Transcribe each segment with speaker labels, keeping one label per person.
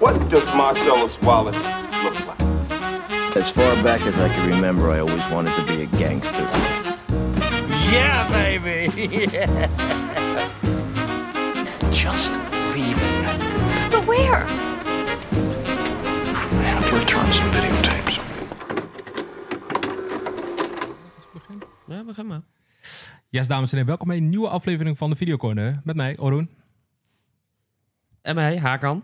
Speaker 1: What does Marcellus Wallace look like?
Speaker 2: As far back as I can remember, I always wanted to be a gangster.
Speaker 3: Yeah, baby! yeah.
Speaker 4: Just leaving.
Speaker 5: But where?
Speaker 4: I have to return some videotapes.
Speaker 6: Ja, begin maar. Yes, dames en heren, welkom bij een nieuwe aflevering van de Videocorner. Met mij, Oroen.
Speaker 7: En mij, Hakan.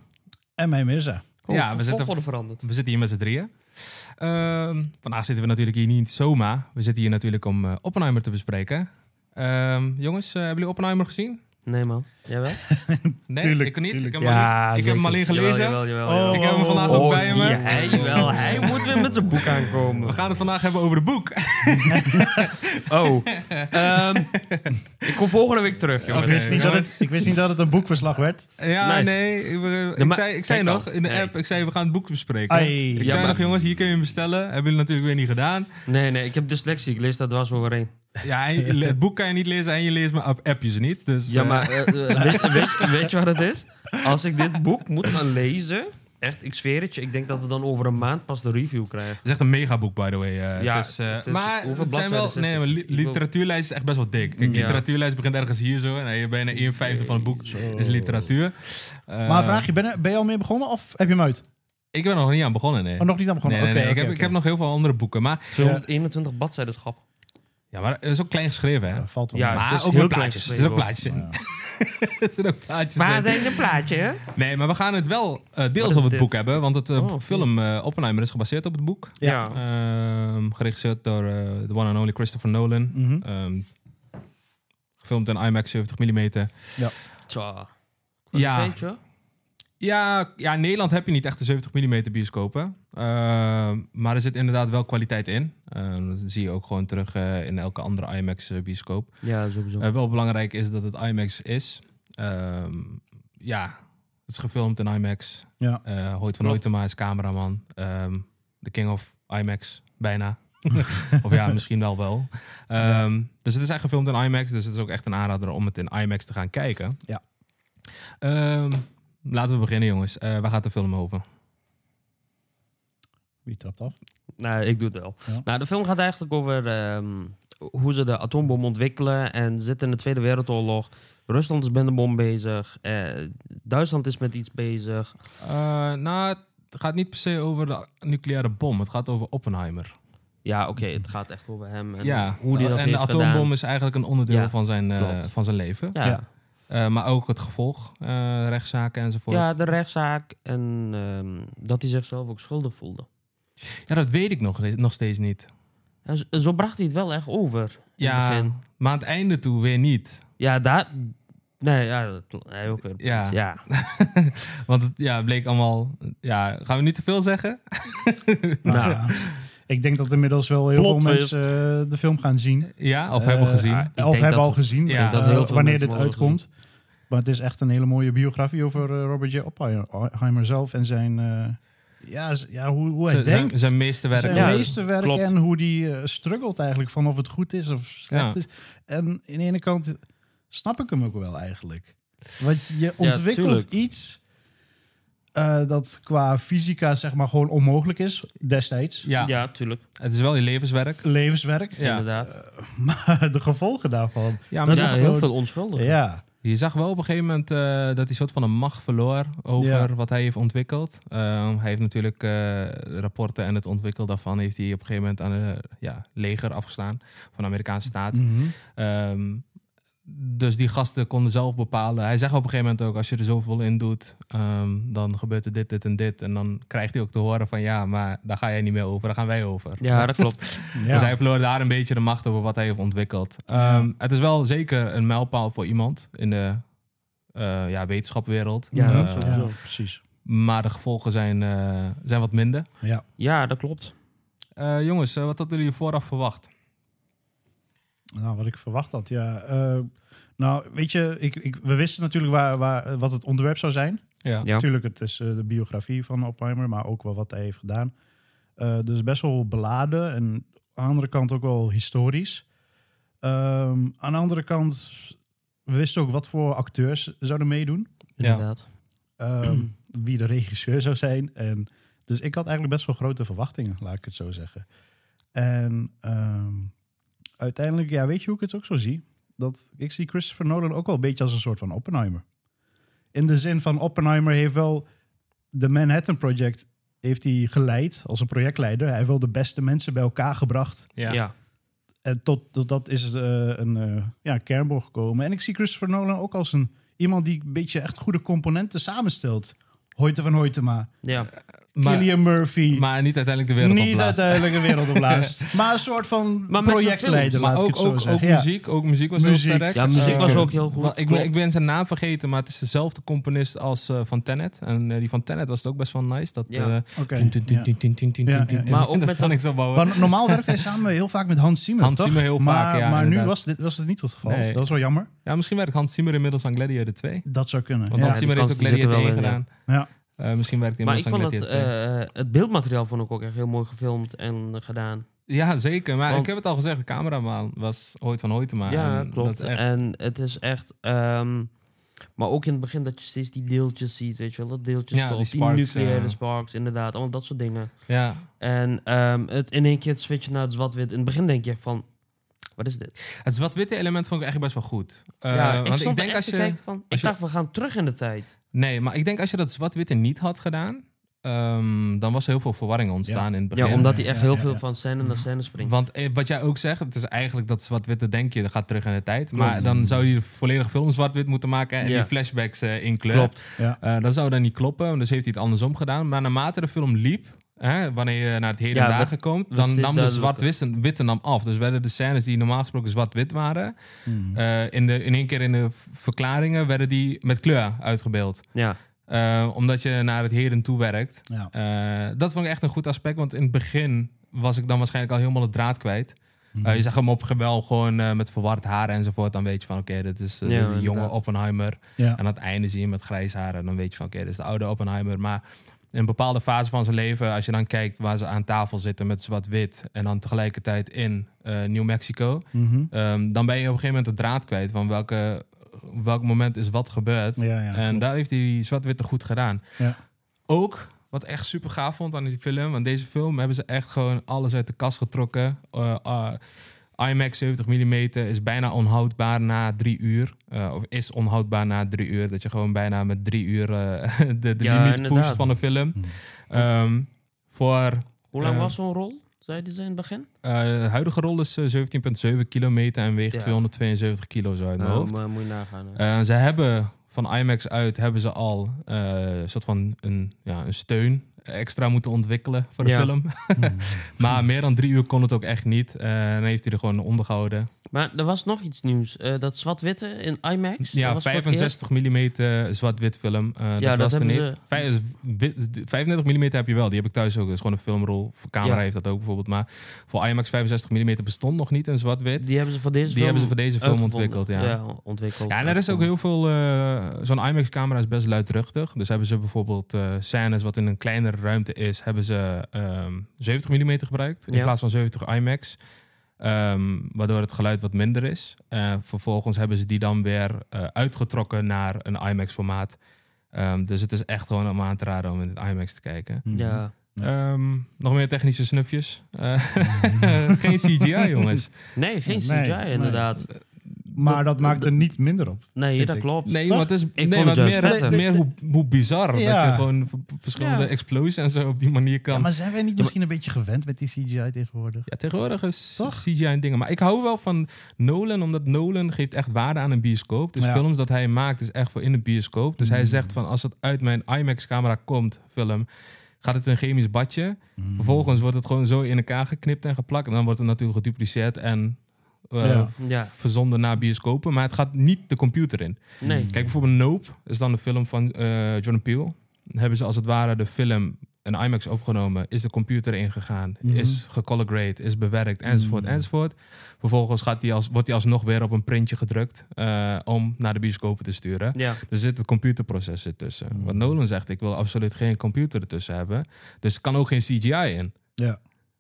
Speaker 8: En mijn Mirza.
Speaker 6: Ja, we zitten-
Speaker 7: volgorde veranderd.
Speaker 6: We zitten hier met z'n drieën. Ehm, vandaag zitten we natuurlijk hier niet zomaar. We zitten hier natuurlijk om eh, Oppenheimer te bespreken. Ehm, jongens, eh, hebben jullie Oppenheimer gezien?
Speaker 7: Nee, man. Jij wel?
Speaker 6: Nee,
Speaker 8: Tuurlijk,
Speaker 6: ik niet.
Speaker 8: tuurlijk.
Speaker 6: Ik heb, hem, alleen- ik heb hem
Speaker 7: zeker.
Speaker 6: alleen gelezen.
Speaker 7: Jawel, jawel, jawel,
Speaker 6: Ik
Speaker 7: jawel.
Speaker 6: heb hem vandaag
Speaker 7: Oh,
Speaker 6: ook bij me.
Speaker 7: ja, hij wel. Hij moet weer met zijn boek
Speaker 6: We
Speaker 7: aankomen.
Speaker 6: gaan het vandaag hebben over het boek.
Speaker 7: Oh. Ehm, ik kom volgende week terug, jongens.
Speaker 6: Oké.
Speaker 8: Ik wist, niet dat het,
Speaker 6: jongens.
Speaker 8: ik wist niet dat het een boekverslag werd.
Speaker 6: Ja,
Speaker 7: Nice.
Speaker 6: nee. Ik, eh, ik
Speaker 7: Ja, maar-
Speaker 6: zei, ik zei
Speaker 7: kijk
Speaker 6: nog
Speaker 7: dan.
Speaker 6: in de
Speaker 7: Nee.
Speaker 6: app, ik zei we gaan het boek bespreken.
Speaker 8: Ai.
Speaker 6: ik zei
Speaker 7: Jammer.
Speaker 6: nog jongens, hier kun je hem bestellen. Hebben jullie natuurlijk weer niet gedaan.
Speaker 7: Nee, nee, ik heb dyslexie. Ik lees dat dwars overheen.
Speaker 6: Ja, en je- het boek kan je niet lezen en je leest mijn app- appjes niet. Dus,
Speaker 7: Ja,
Speaker 6: eh,
Speaker 7: maar eh, eh, weet, weet, weet je wat het is? Als ik dit boek moet gaan lezen... Echt, ik zweer het je. Ik denk dat we dan over een maand pas de review krijgen.
Speaker 6: Het is echt een megaboek, by the way. eh,
Speaker 7: Ja,
Speaker 6: het is, eh,
Speaker 7: het is-
Speaker 6: maar
Speaker 7: hoeveel
Speaker 6: het zijn wel,
Speaker 7: bladzijden is
Speaker 6: nee,
Speaker 7: het?
Speaker 6: maar li-
Speaker 7: Ik wil-
Speaker 6: literatuurlijst is echt best wel dik. Kijk,
Speaker 7: Ja.
Speaker 6: literatuurlijst begint ergens hier zo. En je bijna 1,50 van het boek is literatuur. Eh,
Speaker 8: maar vraag je, ben, er- ben je al mee begonnen of heb je hem uit?
Speaker 6: Ik ben er nog niet aan begonnen, nee.
Speaker 8: Oh, nog niet aan begonnen?
Speaker 6: Nee, nee,
Speaker 8: Oké,
Speaker 6: nee, ik,
Speaker 8: oké,
Speaker 6: heb, ik heb
Speaker 8: oké.
Speaker 6: nog heel veel andere boeken. Maar,
Speaker 7: 221 bladzijden, schap.
Speaker 6: ja, maar het is ook klein geschreven, hè?
Speaker 8: Ja, valt wel.
Speaker 7: Ja,
Speaker 8: mee.
Speaker 6: maar
Speaker 7: het is
Speaker 6: ook
Speaker 7: heel
Speaker 6: met
Speaker 7: klein
Speaker 6: plaatjes. Er zitten ook plaatjes in. Er zitten ook plaatjes in.
Speaker 7: denk een plaatje, hè?
Speaker 6: Nee, maar we gaan het wel eh, deels
Speaker 7: Wat is
Speaker 6: over het
Speaker 7: dit?
Speaker 6: boek hebben. Want het eh,
Speaker 7: Oh,
Speaker 6: film eh, Oppenheimer is gebaseerd op het boek.
Speaker 7: Ja.
Speaker 6: Ehm, geregisseerd door eh, de one and only Christopher Nolan.
Speaker 8: Mhm.
Speaker 6: Ehm, gefilmd in IMAX 70 mm.
Speaker 7: Tja.
Speaker 6: Ja.
Speaker 7: Weet je?
Speaker 6: Ja, ja, in Nederland heb je niet echt de 70 mm bioscopen. Ehm, maar er zit inderdaad wel kwaliteit in. Ehm, dat zie je ook gewoon terug eh, in elke andere IMAX eh, bioscoop.
Speaker 7: Ja, sowieso.
Speaker 6: Eh, wel belangrijk is dat het IMAX is. Ehm, ja, het is gefilmd in IMAX.
Speaker 8: Ja.
Speaker 6: Eh, Hoyt van
Speaker 7: Klopt.
Speaker 6: Hoytema is cameraman. Ehm the king of IMAX, bijna. of ja, misschien wel wel. Ehm, Dus het is echt gefilmd in IMAX. Dus het is ook echt een aanrader om het in IMAX te gaan kijken.
Speaker 8: Ja.
Speaker 6: Ehm, laten we beginnen, jongens. Eh, waar gaat de film over?
Speaker 8: Wie trapt af?
Speaker 7: Nou, ik doe het wel.
Speaker 8: Ja.
Speaker 7: Nou, de film gaat eigenlijk over ehm, hoe ze de atoombom ontwikkelen en zitten in de Tweede Wereldoorlog. Rusland is met een bom bezig. eh, Duitsland is met iets bezig.
Speaker 6: Eh, nou, het gaat niet per se over de nucleaire bom. Het gaat over Oppenheimer.
Speaker 7: Ja, oké, het gaat echt over hem en
Speaker 6: ja,
Speaker 7: hoe die dat
Speaker 6: en
Speaker 7: heeft
Speaker 6: de atoombom
Speaker 7: gedaan.
Speaker 6: is eigenlijk een onderdeel
Speaker 7: Ja,
Speaker 6: van, zijn, eh,
Speaker 7: klopt.
Speaker 6: van zijn leven.
Speaker 7: Ja.
Speaker 8: Ja.
Speaker 7: Ja.
Speaker 6: Eh, maar ook het gevolg, eh, rechtszaken enzovoort. Ja.
Speaker 7: de rechtszaak en ehm, dat hij zichzelf ook schuldig voelde.
Speaker 6: dat weet ik nog, nog steeds niet.
Speaker 7: En zo, zo bracht hij het wel echt over. in het
Speaker 6: Ja,
Speaker 7: begin.
Speaker 6: maar aan het einde toe weer niet.
Speaker 7: Ja, daar... Nee, ja, dat klopt. Hij ook weer.
Speaker 6: Ja.
Speaker 7: ja.
Speaker 6: Want het ja, bleek allemaal... Ja, gaan we niet te veel zeggen?
Speaker 8: Nou,
Speaker 7: Nou.
Speaker 8: ja. Ik denk dat inmiddels wel heel
Speaker 7: Plot
Speaker 8: veel
Speaker 7: twist.
Speaker 8: mensen eh, de film gaan zien.
Speaker 6: Ja, of
Speaker 8: Eh,
Speaker 6: hebben we gezien?
Speaker 8: ah,
Speaker 7: denk
Speaker 8: of hebben
Speaker 7: dat-
Speaker 8: al gezien,
Speaker 6: ik denk dat
Speaker 8: eh,
Speaker 7: heel veel
Speaker 8: wanneer
Speaker 7: mensen
Speaker 8: dit
Speaker 7: wel hebben
Speaker 8: uitkomt. Maar het is echt een hele mooie biografie over eh, Robert J. Oppenheimer zelf en zijn... eh, ja, z- ja, hoe, hoe hij
Speaker 6: zijn,
Speaker 8: denkt.
Speaker 6: zijn, zijn meesterwerk.
Speaker 8: zijn
Speaker 7: Ja,
Speaker 8: meesterwerk
Speaker 7: klopt.
Speaker 8: en hoe die eh, struggelt eigenlijk van of het goed is of slecht
Speaker 6: Ja.
Speaker 8: is. En aan de ene kant snap ik hem ook wel eigenlijk. Want je
Speaker 7: Ja,
Speaker 8: ontwikkelt
Speaker 7: tuurlijk.
Speaker 8: iets eh, dat qua fysica zeg maar gewoon onmogelijk is destijds.
Speaker 6: Ja,
Speaker 7: ja, tuurlijk.
Speaker 6: het is wel je levenswerk.
Speaker 8: Levenswerk. Eh,
Speaker 6: Ja.
Speaker 7: Inderdaad.
Speaker 8: Maar de gevolgen daarvan.
Speaker 6: Ja,
Speaker 8: Dat
Speaker 6: maar
Speaker 8: is
Speaker 7: ja,
Speaker 8: echt
Speaker 7: heel
Speaker 8: gewoon-
Speaker 7: veel onschuldigen.
Speaker 8: Ja,
Speaker 6: je zag wel op een gegeven moment eh, dat hij een soort van een macht verloor over wat hij heeft ontwikkeld. Ehm, hij heeft natuurlijk eh, rapporten en het ontwikkelen daarvan heeft hij op een gegeven moment aan het ja, leger afgestaan van de Amerikaanse staat.
Speaker 8: Mhm.
Speaker 6: Ehm, dus die gasten konden zelf bepalen. Hij zegt op een gegeven moment ook: als je er zoveel in doet, ehm, dan gebeurt er dit, dit en dit. En dan krijgt hij ook te horen: van ja, maar daar ga jij niet meer over, daar gaan wij over.
Speaker 7: Ja, dat klopt.
Speaker 6: Dus hij
Speaker 8: ja.
Speaker 6: verloor daar een beetje de macht over wat hij heeft ontwikkeld. Ehm, Het is wel zeker een mijlpaal voor iemand in de eh, ja, wetenschapwereld.
Speaker 7: Ja,
Speaker 6: Eh,
Speaker 7: sowieso.
Speaker 8: Ja, precies.
Speaker 6: maar de gevolgen zijn, eh, zijn wat minder.
Speaker 8: Ja.
Speaker 7: Ja, dat klopt.
Speaker 6: Eh, jongens, eh, wat hadden jullie vooraf verwacht?
Speaker 8: Nou, wat ik verwacht had, ja. eh, nou, weet je, ik, ik, we wisten natuurlijk waar, waar, eh, wat het onderwerp zou zijn.
Speaker 6: Ja.
Speaker 7: Ja.
Speaker 8: Natuurlijk, het is eh, de biografie van Oppenheimer, maar ook wel wat hij heeft gedaan. Eh, dus best wel beladen en aan de andere kant ook wel historisch. Ehm, aan de andere kant, we wisten ook wat voor acteurs zouden meedoen.
Speaker 7: Inderdaad.
Speaker 8: ehm, wie de regisseur zou zijn. En, dus ik had eigenlijk best wel grote verwachtingen, laat ik het zo zeggen. En ehm, uiteindelijk, ja, weet je hoe ik het ook zo zie? Dat, ik zie Christopher Nolan ook wel een beetje als een soort van Oppenheimer. In de zin van Oppenheimer heeft wel de Manhattan Project heeft hij geleid als een projectleider. Hij heeft wel de beste mensen bij elkaar gebracht.
Speaker 6: Ja.
Speaker 7: ja.
Speaker 8: En tot, tot dat is eh, een eh, ja, kernboog gekomen. En ik zie Christopher Nolan ook als een, iemand die een beetje echt goede componenten samenstelt. Hoyte van Hoytema,
Speaker 7: ja.
Speaker 6: Maar,
Speaker 8: Cillian Murphy.
Speaker 6: maar niet uiteindelijk de wereld
Speaker 8: niet
Speaker 6: opblaast.
Speaker 8: uiteindelijk een wereldopblaast. maar een soort van
Speaker 7: Maar met zijn
Speaker 8: projectleider,
Speaker 7: films.
Speaker 8: laat
Speaker 6: Maar ook,
Speaker 8: ik het zo
Speaker 6: ook, ook
Speaker 8: zeggen. Ja.
Speaker 6: muziek. Ook muziek was
Speaker 8: Muziek.
Speaker 6: heel sterk.
Speaker 7: Ja, muziek
Speaker 6: Eh,
Speaker 7: was ook heel goed.
Speaker 6: wa- Ik ben,
Speaker 7: klopt.
Speaker 6: ik ben zijn naam vergeten, maar het is dezelfde componist als eh, van Tenet. En eh, die van Tenet was het ook best wel nice. Dat,
Speaker 7: Ja.
Speaker 6: eh,
Speaker 8: Oké,
Speaker 6: tien, tien, tien,
Speaker 8: ja.
Speaker 6: tien, tien, tien, tien,
Speaker 8: Ja,
Speaker 6: tien,
Speaker 8: ja, ja.
Speaker 6: tien.
Speaker 7: Maar ook
Speaker 6: Dat
Speaker 7: met
Speaker 6: kan ik zo bouwen.
Speaker 8: Maar normaal werkt hij samen heel vaak met Hans Zimmer,
Speaker 6: Hans
Speaker 8: toch?
Speaker 6: Zimmer heel
Speaker 8: maar,
Speaker 6: vaak, ja,
Speaker 8: Maar nu
Speaker 6: inderdaad.
Speaker 8: was dit, was dit niet het geval.
Speaker 6: Nee.
Speaker 8: Dat is wel jammer.
Speaker 6: Ja, misschien werkt Hans Zimmer inmiddels aan Gladiator 2.
Speaker 8: Dat zou kunnen.
Speaker 6: Want
Speaker 8: ja.
Speaker 6: Hans Zimmer
Speaker 7: die
Speaker 6: heeft ook
Speaker 7: kans die zit er
Speaker 6: Gladiator
Speaker 7: wel
Speaker 6: 1
Speaker 7: in,
Speaker 6: gedaan.
Speaker 8: Ja.
Speaker 6: Eh, misschien werkt hij
Speaker 7: Maar ik
Speaker 6: inmiddels aan
Speaker 7: vond het,
Speaker 6: Gladiator 2.
Speaker 7: eh, het beeldmateriaal vond ik ook echt heel mooi gefilmd en gedaan.
Speaker 6: Ja, zeker. Maar
Speaker 7: eh, Want-
Speaker 6: ik heb het al gezegd, de cameraman was ooit van ooit te maken.
Speaker 7: ja, klopt. Eh.
Speaker 6: Dat is echt,
Speaker 7: En het is echt... ehm, maar ook in het begin dat je steeds die deeltjes ziet, weet je wel. Dat deeltjes
Speaker 6: Ja,
Speaker 7: toch,
Speaker 6: die
Speaker 7: die,
Speaker 6: sparks,
Speaker 7: nucleaire
Speaker 6: ja.
Speaker 7: sparks, inderdaad. Allemaal dat soort dingen.
Speaker 6: ja.
Speaker 7: En ehm, het in één keer het switchen naar het zwart-wit. In het begin denk je echt van, wat is dit?
Speaker 6: Het zwart-witte element vond ik echt best wel goed. Eh,
Speaker 7: ja,
Speaker 6: want ik
Speaker 7: stond
Speaker 6: denk
Speaker 7: echt
Speaker 6: als
Speaker 7: te
Speaker 6: je...
Speaker 7: kijken van, ik
Speaker 6: als je-
Speaker 7: dacht, we gaan terug in de tijd.
Speaker 6: Nee, maar ik denk als je dat zwart-witte niet had gedaan, ehm, dan was er heel veel verwarring ontstaan in het begin.
Speaker 7: Ja, omdat hij
Speaker 8: ja,
Speaker 7: echt
Speaker 8: ja,
Speaker 7: heel
Speaker 8: ja,
Speaker 7: veel
Speaker 8: ja.
Speaker 7: van scène naar scène springt.
Speaker 6: Want eh, wat jij ook zegt, het is eigenlijk dat zwart-witte denk je, dat gaat terug in de tijd. Maar dan zou je de volledige film zwart-wit moeten maken en
Speaker 7: Ja.
Speaker 6: die flashbacks eh in kleur.
Speaker 7: Klopt.
Speaker 8: Ja.
Speaker 6: Eh, dat zou dan niet kloppen, want dus heeft hij het andersom gedaan. Maar naarmate de film liep, hè, wanneer je naar het heden
Speaker 7: Ja,
Speaker 6: dagen
Speaker 7: werd-
Speaker 6: komt,
Speaker 7: werd
Speaker 6: dan
Speaker 7: steeds
Speaker 6: nam de
Speaker 7: duidelijker.
Speaker 6: zwart-witte nam af. Dus werden de scènes die normaal gesproken zwart-wit waren,
Speaker 7: Mhm.
Speaker 6: eh, in, de, in één keer in de v- verklaringen werden die met kleur uitgebeeld.
Speaker 7: Ja,
Speaker 6: Eh, omdat je naar het heden toe werkt.
Speaker 8: Ja.
Speaker 6: Eh, dat vond ik echt een goed aspect, want in het begin was ik dan waarschijnlijk al helemaal de draad kwijt.
Speaker 7: Mhm.
Speaker 6: Eh, je zag hem op gewel gewoon eh, met verward haar enzovoort. Dan weet je van, oké, dit is eh,
Speaker 7: Ja,
Speaker 6: de jonge
Speaker 7: inderdaad.
Speaker 6: Oppenheimer.
Speaker 8: Ja.
Speaker 6: Aan het einde zie je hem met grijs haar en dan weet je van, oké, dit is de oude Oppenheimer. Maar in een bepaalde fase van zijn leven, als je dan kijkt waar ze aan tafel zitten met zwart-wit... en dan tegelijkertijd in eh, New Mexico...
Speaker 8: Mhm.
Speaker 6: ehm, dan ben je op een gegeven moment de draad kwijt van welke, welk moment is wat gebeurd.
Speaker 8: Ja, ja,
Speaker 6: en
Speaker 8: klopt.
Speaker 6: daar heeft hij zwart-witte goed gedaan.
Speaker 8: Ja.
Speaker 6: Ook wat echt super gaaf vond aan die film. Want deze film hebben ze echt gewoon alles uit de kast getrokken. Eh, eh, IMAX 70 mm is bijna onhoudbaar na drie uur. Eh, of is onhoudbaar na drie uur. Dat je gewoon bijna met drie uur eh, de, de
Speaker 7: Ja,
Speaker 6: limiet
Speaker 7: inderdaad.
Speaker 6: pusht van een film. Ehm, voor
Speaker 7: hoe lang
Speaker 6: Eh,
Speaker 7: was zo'n rol, zei hij ze in het begin?
Speaker 6: eh, de huidige rol is eh, 17,7 kilometer en weegt
Speaker 7: Ja.
Speaker 6: 272 kilo zo uit mijn
Speaker 7: Nou,
Speaker 6: hoofd.
Speaker 7: maar moet je nagaan. hè.
Speaker 6: Eh, ze hebben van IMAX uit hebben ze al eh, een soort van een, ja, een steun extra moeten ontwikkelen voor de
Speaker 7: Ja.
Speaker 6: film. maar meer dan drie uur kon het ook echt niet. Eh, dan heeft hij er gewoon ondergehouden.
Speaker 7: Maar er was nog iets nieuws. Eh, dat zwart-witte in IMAX. Dus dat
Speaker 6: Ja,
Speaker 7: was voor het eerst.
Speaker 6: 65 mm zwart-wit film. Eh, dat,
Speaker 7: dat
Speaker 6: was er
Speaker 7: hebben
Speaker 6: niet.
Speaker 7: ze-
Speaker 6: Vij- is wit- 35 mm heb je wel. Die heb ik thuis ook. Dat is gewoon een filmrol. Voor camera
Speaker 7: Ja.
Speaker 6: heeft dat ook bijvoorbeeld. Maar voor IMAX 65 mm bestond nog niet een zwart-wit.
Speaker 7: Die hebben ze voor deze
Speaker 6: Die
Speaker 7: film
Speaker 6: hebben ze voor deze film
Speaker 7: uitgevonden.
Speaker 6: ontwikkeld, ja.
Speaker 7: ontwikkeld.
Speaker 6: Ja, en er is ook heel veel. eh, Zo'n IMAX-camera is best luidruchtig. Dus hebben ze bijvoorbeeld eh, scènes wat in een kleinere ruimte is, hebben ze ehm, 70 mm gebruikt in
Speaker 7: Ja.
Speaker 6: plaats van 70 IMAX. Ehm, waardoor het geluid wat minder is. Eh, vervolgens hebben ze die dan weer eh, uitgetrokken naar een IMAX-formaat. Ehm, dus het is echt gewoon om aan te raden om in het IMAX te kijken.
Speaker 8: Mhm.
Speaker 7: Ja,
Speaker 6: Ehm, nog meer technische snufjes. Eh, geen CGI, jongens.
Speaker 7: nee, geen CGI
Speaker 8: Nee, nee.
Speaker 7: inderdaad.
Speaker 8: Maar dat maakt er niet minder op.
Speaker 7: Nee,
Speaker 8: Vind
Speaker 7: dat
Speaker 8: ik.
Speaker 7: klopt.
Speaker 6: Nee,
Speaker 8: Toch?
Speaker 6: maar het is nee,
Speaker 7: vond
Speaker 6: maar
Speaker 7: het juist
Speaker 6: meer,
Speaker 7: vetter.
Speaker 6: meer hoe, hoe bizar dat
Speaker 8: Ja.
Speaker 6: je gewoon v- v- verschillende
Speaker 7: Ja.
Speaker 6: explosies en zo op die manier kan.
Speaker 8: Ja,
Speaker 6: Ja,
Speaker 8: maar zijn wij niet misschien een beetje gewend met die CGI tegenwoordig?
Speaker 6: tegenwoordig is
Speaker 8: Toch?
Speaker 6: CGI en dingen. Maar ik hou wel van Nolan, omdat Nolan geeft echt waarde aan een bioscoop. Dus
Speaker 8: Ja. Hmm.
Speaker 6: films dat hij maakt is echt voor in de bioscoop. Dus hij zegt van als het uit mijn IMAX-camera komt, film, gaat het in een chemisch badje.
Speaker 8: Hmm.
Speaker 6: Vervolgens wordt het gewoon zo in elkaar geknipt en geplakt. En dan wordt het natuurlijk gedupliceerd en eh,
Speaker 8: Ja.
Speaker 7: Ja,
Speaker 6: verzonden naar bioscopen. Maar het gaat niet de computer in.
Speaker 7: nee.
Speaker 6: Kijk, bijvoorbeeld Nope is dan de film van eh John Peel. Hebben ze als het ware de film een IMAX opgenomen, is de computer ingegaan,
Speaker 8: Mhm.
Speaker 6: is gecolor grade, is bewerkt, enzovoort, enzovoort. Vervolgens gaat die als, wordt die alsnog weer op een printje gedrukt eh, om naar de bioscopen te sturen.
Speaker 7: Ja,
Speaker 6: Er zit het computerproces ertussen.
Speaker 8: Mhm.
Speaker 6: Wat Nolan zegt, ik wil absoluut geen computer ertussen hebben. Dus er kan ook geen CGI in.
Speaker 8: Ja.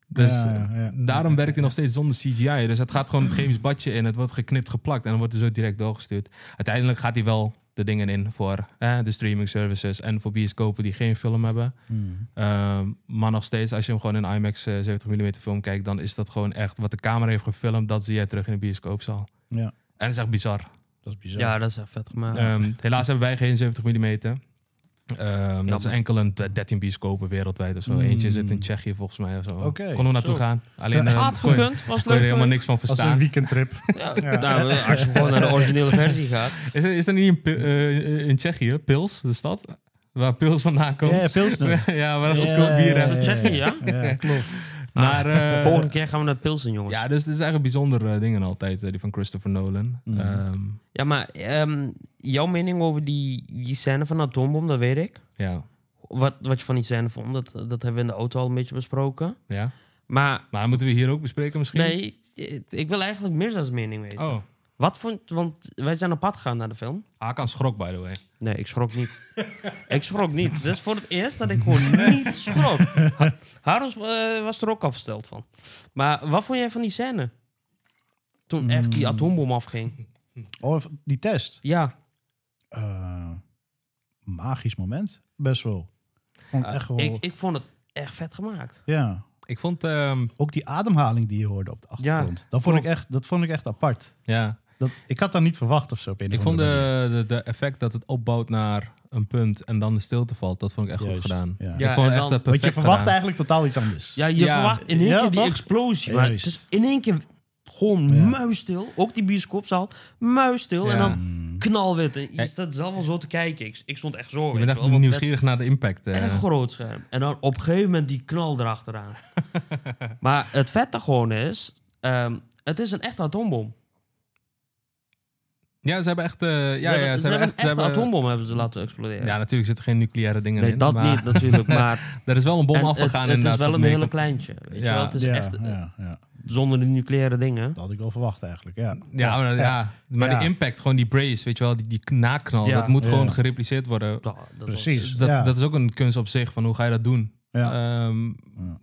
Speaker 6: Dus
Speaker 8: Ja, ja, ja.
Speaker 6: daarom werkt hij nog steeds zonder CGI. Dus het gaat gewoon het chemisch badje in. Het wordt geknipt, geplakt en dan wordt er zo direct doorgestuurd. Uiteindelijk gaat hij wel de dingen in voor eh, de streaming services en voor bioscopen die geen film hebben.
Speaker 8: Hmm.
Speaker 6: Ehm, maar nog steeds, als je hem gewoon in IMAX eh, 70 mm film kijkt, dan is dat gewoon echt wat de camera heeft gefilmd, dat zie je terug in de bioscoopzaal.
Speaker 8: Ja,
Speaker 6: En dat is echt bizar.
Speaker 8: dat is bizar.
Speaker 7: Ja, dat is echt vet gemaakt.
Speaker 6: Ehm, helaas hebben wij geen 70 mm. dat is
Speaker 7: Jammer.
Speaker 6: enkel een d- 13 bioscopen wereldwijd of zo. Eentje zit in Tsjechië volgens mij of zo.
Speaker 8: Hmm. Oké,
Speaker 6: Kon er naartoe
Speaker 8: zo.
Speaker 6: gaan. Alleen eh,
Speaker 7: Had
Speaker 6: kon je-
Speaker 7: gekund, was
Speaker 6: kon je
Speaker 7: leuk.
Speaker 6: er helemaal
Speaker 7: geweest.
Speaker 6: niks van
Speaker 8: Als een
Speaker 6: verstaan.
Speaker 8: weekendtrip.
Speaker 7: Ja. Nou, als je gewoon naar de originele versie gaat.
Speaker 6: Is er, is er niet een, pi- eh, in Tsjechië, Pils, de stad, waar Pils vandaan komt?
Speaker 8: Ja, ja, Pilsner.
Speaker 6: ja, waar een
Speaker 8: Ja,
Speaker 6: goedkoop bier
Speaker 8: ja, Ah.
Speaker 6: hebben.
Speaker 7: Dat zeg je, ja?
Speaker 8: Ja, klopt.
Speaker 6: Maar, eh,
Speaker 7: Volgende keer gaan we naar Pilsen, jongens.
Speaker 6: Ja, dus het is eigenlijk bijzondere dingen altijd, eh, die van Christopher Nolan.
Speaker 8: Mm.
Speaker 6: Ehm,
Speaker 7: Ja, maar ehm, jouw mening over die, die scène van de atoombom, dat weet ik.
Speaker 6: ja.
Speaker 7: Wat, wat je van die scène vond, dat, dat hebben we in de auto al een beetje besproken.
Speaker 6: ja.
Speaker 7: Maar
Speaker 6: Maar moeten we hier ook bespreken misschien?
Speaker 7: nee, ik- eh, ik wil eigenlijk Mirza's mening weten.
Speaker 6: Oh,
Speaker 7: Wat vond... Want wij zijn op pad gegaan naar de film.
Speaker 6: Hakan schrok, by the way.
Speaker 7: Nee, ik schrok niet. ik schrok niet. Dat is voor het eerst dat ik gewoon niet schrok. Ha- Haros eh, was er ook al versteld van. Maar wat vond jij van die scène? Toen echt die atoombom afging.
Speaker 8: Of Oh, die test.
Speaker 7: Ja,
Speaker 8: Eh, magisch moment. Best wel. Vond echt wel
Speaker 7: ik, ik vond het echt vet gemaakt.
Speaker 8: Ja.
Speaker 6: Ik vond, ehm,
Speaker 8: Ook die ademhaling die je hoorde op de achtergrond. dat, vond ik
Speaker 7: klopt.
Speaker 8: echt, dat vond ik echt apart.
Speaker 6: ja,
Speaker 8: Dat, ik had dat niet verwacht of zo. op een
Speaker 6: Ik
Speaker 8: of
Speaker 6: vond eh,
Speaker 8: andere
Speaker 6: de, de, de effect dat het opbouwt naar een punt en dan de stilte valt, dat vond ik echt
Speaker 8: Juist,
Speaker 6: goed gedaan.
Speaker 8: ja.
Speaker 6: Ik
Speaker 7: Ja,
Speaker 6: vond
Speaker 7: en
Speaker 6: echt
Speaker 7: dan-
Speaker 6: dat
Speaker 8: manier. Want je
Speaker 6: perfect
Speaker 8: verwacht
Speaker 6: gedaan.
Speaker 8: eigenlijk totaal iets anders.
Speaker 7: Ja, je
Speaker 6: Ja.
Speaker 7: verwacht in één
Speaker 8: Ja,
Speaker 7: keer die
Speaker 8: toch?
Speaker 7: explosie. Maar het
Speaker 8: Juist.
Speaker 7: is in één keer gewoon muisstil. Ook die bioscoopzaal, muisstil. En
Speaker 6: Ja.
Speaker 7: dan knalwit. En Je staat zelf al zo te kijken. Ik, ik stond echt zo.
Speaker 6: Ik
Speaker 7: weet
Speaker 6: ben
Speaker 7: je
Speaker 6: echt
Speaker 7: wel, want het werd
Speaker 6: nieuwsgierig naar de impact. eh.
Speaker 7: Echt groot scherm. En dan op een gegeven moment die knal erachteraan. maar het vette gewoon is... ehm, het is een echte atoombom.
Speaker 6: Ja, ze hebben echt... eh, ja,
Speaker 7: ze
Speaker 6: ja,
Speaker 7: hebben,
Speaker 6: ze hebben echt...
Speaker 7: een
Speaker 6: Ze
Speaker 7: echte
Speaker 6: hebben,
Speaker 7: atoombom hebben ze laten exploderen.
Speaker 6: ja, natuurlijk zitten geen nucleaire dingen
Speaker 7: nee,
Speaker 6: in.
Speaker 7: dat
Speaker 6: maar
Speaker 7: niet natuurlijk, maar
Speaker 6: Er is wel een bom
Speaker 7: en het,
Speaker 6: afgegaan
Speaker 7: het is
Speaker 6: inderdaad.
Speaker 7: wel
Speaker 6: wat
Speaker 7: een
Speaker 6: mee-
Speaker 7: hele kleintje. Weet je
Speaker 6: Ja.
Speaker 7: wel? Het is
Speaker 8: ja,
Speaker 7: echt eh,
Speaker 8: ja, ja.
Speaker 7: zonder de nucleaire dingen.
Speaker 8: Dat had ik wel verwacht eigenlijk. Ja,
Speaker 6: Ja, maar, ja. maar
Speaker 8: Ja.
Speaker 6: de impact, gewoon die brace, weet je wel, die, die naknal,
Speaker 7: Ja.
Speaker 6: dat moet
Speaker 8: Ja.
Speaker 6: gewoon gerepliceerd worden.
Speaker 7: Ja, dat was-
Speaker 8: precies.
Speaker 6: Dat,
Speaker 8: ja.
Speaker 6: dat is ook een kunst op zich, van hoe ga je dat doen?
Speaker 8: ja.
Speaker 6: Ehm,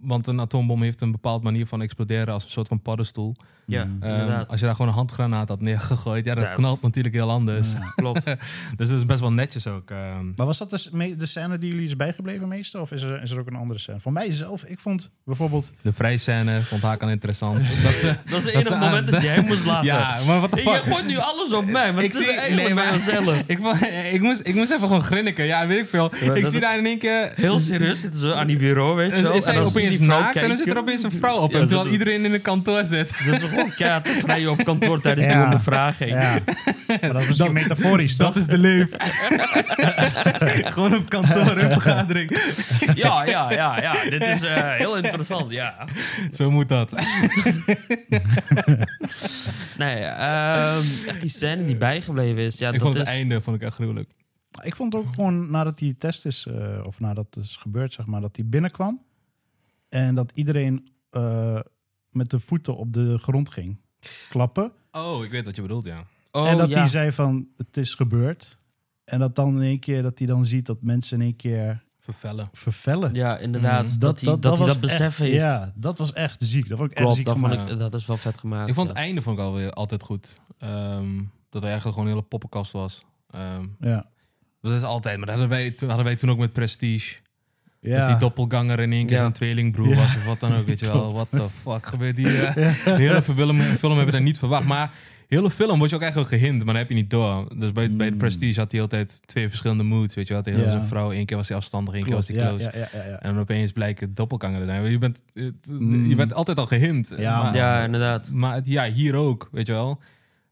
Speaker 6: Want een atoombom heeft een bepaalde manier van exploderen als een soort van paddenstoel.
Speaker 7: Ja,
Speaker 6: Ehm,
Speaker 7: inderdaad.
Speaker 6: als je daar gewoon een handgranaat had neergegooid, ja, dat
Speaker 7: Ja.
Speaker 6: knalt natuurlijk heel anders.
Speaker 7: Klopt.
Speaker 6: Dus dat is best wel netjes ook. ehm.
Speaker 8: Maar was dat de, s- me- de scène die jullie is bijgebleven meestal? Of is er, is er ook een andere scène? Voor mijzelf, ik vond bijvoorbeeld...
Speaker 6: de vrijscène vond Hakan interessant. dat, ze,
Speaker 7: Dat is
Speaker 6: dat
Speaker 7: het
Speaker 6: ze
Speaker 7: enige
Speaker 6: aan-
Speaker 7: moment dat jij moest lachen.
Speaker 6: Ja, maar wat de
Speaker 7: En je
Speaker 6: fuck?
Speaker 7: gooit nu alles op mij, maar
Speaker 6: Ik
Speaker 7: ik het is
Speaker 6: zie-
Speaker 7: eigenlijk
Speaker 6: nee,
Speaker 7: bij
Speaker 6: maar-
Speaker 7: onszelf.
Speaker 6: Ik, wou- ik, moest, ik moest even gewoon grinniken. Ja, weet ik veel. ik
Speaker 7: dat
Speaker 6: zie
Speaker 7: is-
Speaker 6: daar in één keer...
Speaker 7: Heel serieus zitten ze aan die bureau, weet je wel.
Speaker 6: Is
Speaker 7: en
Speaker 6: zij
Speaker 7: dan zie je
Speaker 6: opeens
Speaker 7: die vrouw
Speaker 6: naakt
Speaker 7: kijken.
Speaker 6: en dan zit er opeens een vrouw op
Speaker 7: Ja,
Speaker 6: hem,
Speaker 7: dat
Speaker 6: terwijl
Speaker 7: doet-
Speaker 6: iedereen in een kantoor zit.
Speaker 7: Dat is gewoon keihard te vrij op kantoor tijdens
Speaker 8: Ja.
Speaker 7: de ondervraging.
Speaker 8: Ja. maar dat is misschien metaforisch, toch?
Speaker 6: Dat is de leef. gewoon op kantoor, een vergadering.
Speaker 7: Ja, ja, ja, ja. Dit is eh, heel interessant, ja.
Speaker 6: Zo moet dat.
Speaker 7: Nee, ehm, echt die scène die bijgebleven is. Ja,
Speaker 6: ik
Speaker 7: dat
Speaker 6: vond
Speaker 7: is...
Speaker 6: het einde vond ik echt gruwelijk.
Speaker 8: Ik vond ook gewoon nadat die test is, eh, of nadat het is gebeurd, zeg maar, dat die binnenkwam. En dat iedereen eh, met de voeten op de grond ging klappen.
Speaker 6: Oh, ik weet wat je bedoelt, ja.
Speaker 7: Oh,
Speaker 8: en dat
Speaker 7: ja.
Speaker 8: die zei van, het is gebeurd. En dat dan in één keer, dat hij dan ziet dat mensen in één keer
Speaker 6: Vervellen.
Speaker 8: vervellen. Mm.
Speaker 7: Ja, inderdaad.
Speaker 6: Mhm.
Speaker 7: dat, hij dat, hij
Speaker 8: was
Speaker 7: dat besef
Speaker 8: echt-
Speaker 7: heeft.
Speaker 8: Ja, dat was echt ziek. Dat vond ik echt
Speaker 7: Klopt,
Speaker 8: ziek
Speaker 7: dat, vond
Speaker 8: gemaakt.
Speaker 7: ik, dat is wel vet gemaakt.
Speaker 6: Ik vond het
Speaker 7: ja.
Speaker 6: einde vond ik alweer altijd goed. Ehm, dat hij eigenlijk gewoon een hele poppenkast was. Ehm,
Speaker 8: Ja.
Speaker 6: dat is altijd, maar dat hadden wij, toen, hadden wij toen ook met Prestige. Dat
Speaker 8: Ja.
Speaker 6: die doppelganger in één keer
Speaker 7: Ja.
Speaker 6: zijn tweelingbroer
Speaker 8: Ja.
Speaker 6: was of wat dan ook. Weet je wel, what the fuck gebeurt hier? eh? De hele film, film hebben we daar niet verwacht. Maar de hele film word je ook eigenlijk gehind, maar dat heb je niet door. Dus bij, bij de Prestige had hij altijd twee verschillende moods. Weet je wel, tegen
Speaker 8: Hmm. Ja.
Speaker 6: zijn vrouw. Eén keer was hij afstandig, één keer was
Speaker 8: Klopt,
Speaker 6: hij
Speaker 8: ja,
Speaker 6: close.
Speaker 8: ja, ja, ja, ja.
Speaker 6: En dan opeens blijkt het doppelganger te zijn. Je bent, het- je bent altijd al gehind.
Speaker 8: Hmm. Ja,
Speaker 6: maar,
Speaker 7: Ja, inderdaad.
Speaker 6: maar het- ja, hier ook, weet je wel.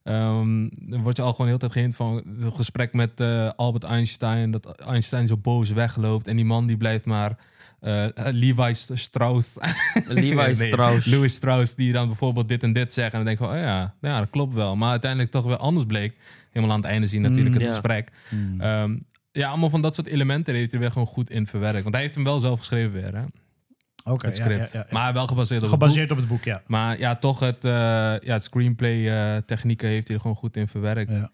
Speaker 6: Ehm, dan word je al gewoon heel tijd gehind van het gesprek met eh, Albert Einstein. Dat Einstein zo boos wegloopt. En die man die blijft maar eh Levi Strauss.
Speaker 7: Levi
Speaker 6: Nee,
Speaker 7: Strauss.
Speaker 6: Louis Strauss, die dan bijvoorbeeld dit en dit zegt. En dan denk je van, oh ja, ja, dat klopt wel. Maar uiteindelijk toch weer anders bleek. Helemaal aan het einde zien natuurlijk het
Speaker 7: Mm, ja.
Speaker 6: gesprek.
Speaker 8: Mm.
Speaker 6: Ehm, ja, allemaal van dat soort elementen heeft hij weer gewoon goed in verwerkt. Want hij heeft hem wel zelf geschreven weer, hè?
Speaker 8: Oké,
Speaker 6: Het
Speaker 8: ja,
Speaker 6: script.
Speaker 8: ja, ja, ja.
Speaker 6: Maar wel gebaseerd op het boek.
Speaker 8: Gebaseerd op het boek, ja.
Speaker 6: Maar ja, toch het, eh, ja, het screenplay eh, technieken heeft hij er gewoon goed in verwerkt.
Speaker 8: Ja.